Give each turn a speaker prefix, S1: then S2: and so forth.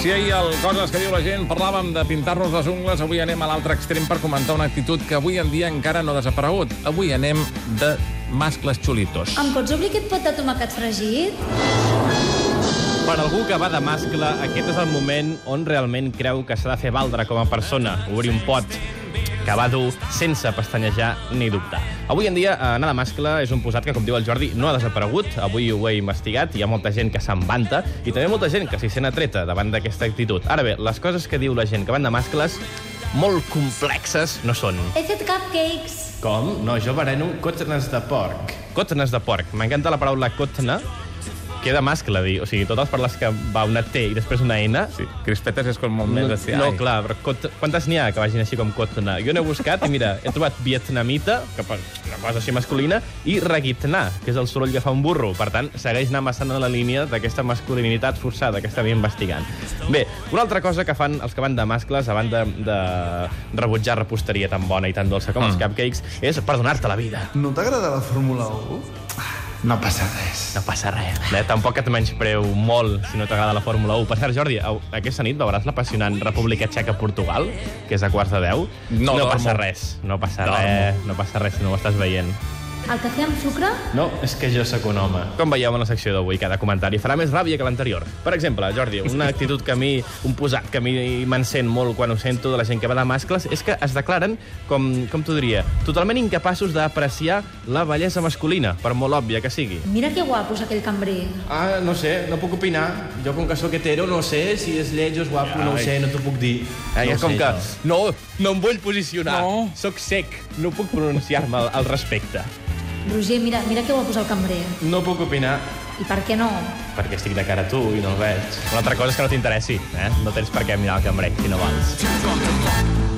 S1: Si ahir al Coses que diu la gent parlàvem de pintar-nos les ungles, avui anem a l'altre extrem per comentar una actitud que avui en dia encara no ha desaparegut. Avui anem de mascles xulitos.
S2: Em pots obrir aquest pot de tomàquet fregit?
S3: Per algú que va de mascle, aquest és el moment on realment creu que s'ha de fer valdre com a persona, obrir un pot que va dur sense pestanyejar ni dubtar. Avui en dia, eh, anar de mascle és un posat que, com diu el Jordi, no ha desaparegut. Avui ho he investigat, hi ha molta gent que se'n vanta i també molta gent que s'hi sent atreta davant d'aquesta actitud. Ara bé, les coses que diu la gent que van de mascles molt complexes no són.
S2: He fet cupcakes.
S3: Com? No, jo bareno cotnes de porc. Cotnes de porc. M'encanta la paraula cotna, que de mascle, dir. O sigui, totes les paraules que va una T i després una N...
S1: Sí, crispetes és com molt
S3: No,
S1: més... de ser,
S3: Mm. no,
S1: ai.
S3: clar, però cot... quantes n'hi ha que vagin així com cotna? Jo n'he buscat i mira, he trobat vietnamita, que per una cosa així masculina, i reguitnar, que és el soroll que fa un burro. Per tant, segueix anant bastant a la línia d'aquesta masculinitat forçada que estava investigant. Bé, una altra cosa que fan els que van de mascles, a banda de rebutjar reposteria tan bona i tan dolça com mm. els cupcakes, és perdonar-te la vida.
S4: No t'agrada la Fórmula 1? No passa res.
S3: No passa res. Eh, tampoc que et menyspreu molt si no t'agrada la Fórmula 1. Per cert, Jordi, au- aquesta nit veuràs l'apassionant República Txeca-Portugal, que és a quarts de deu.
S1: No,
S3: no
S1: dormo.
S3: passa res. No passa
S1: Dormo.
S3: res. No passa res si no ho estàs veient.
S2: El cafè amb sucre?
S3: No, és que jo sóc un home. Com veieu en la secció d'avui, cada comentari farà més ràbia que l'anterior. Per exemple, Jordi, una actitud que a mi, un posat que a mi m'encén molt quan ho sento de la gent que va de mascles, és que es declaren, com, com t'ho diria, totalment incapaços d'apreciar la bellesa masculina, per molt òbvia que sigui.
S2: Mira que guapo és aquell cambrer.
S5: Ah, no sé, no puc opinar. Jo, com que sóc hetero, no sé si és lleig o és guapo, no ho
S3: Ai.
S5: sé, no t'ho puc dir. no
S3: Eh, no
S5: ho
S3: és
S5: sé,
S3: com que,
S5: jo.
S3: no, no em vull posicionar.
S1: No.
S3: Soc sec, no puc pronunciar-me al, al respecte.
S2: Roger, mira, mira que guapo és el cambrer.
S5: No puc opinar.
S2: I per què no?
S3: Perquè estic de cara a tu i no el veig. Una altra cosa és que no t'interessi, eh? No tens per què mirar el cambrer, si no vols.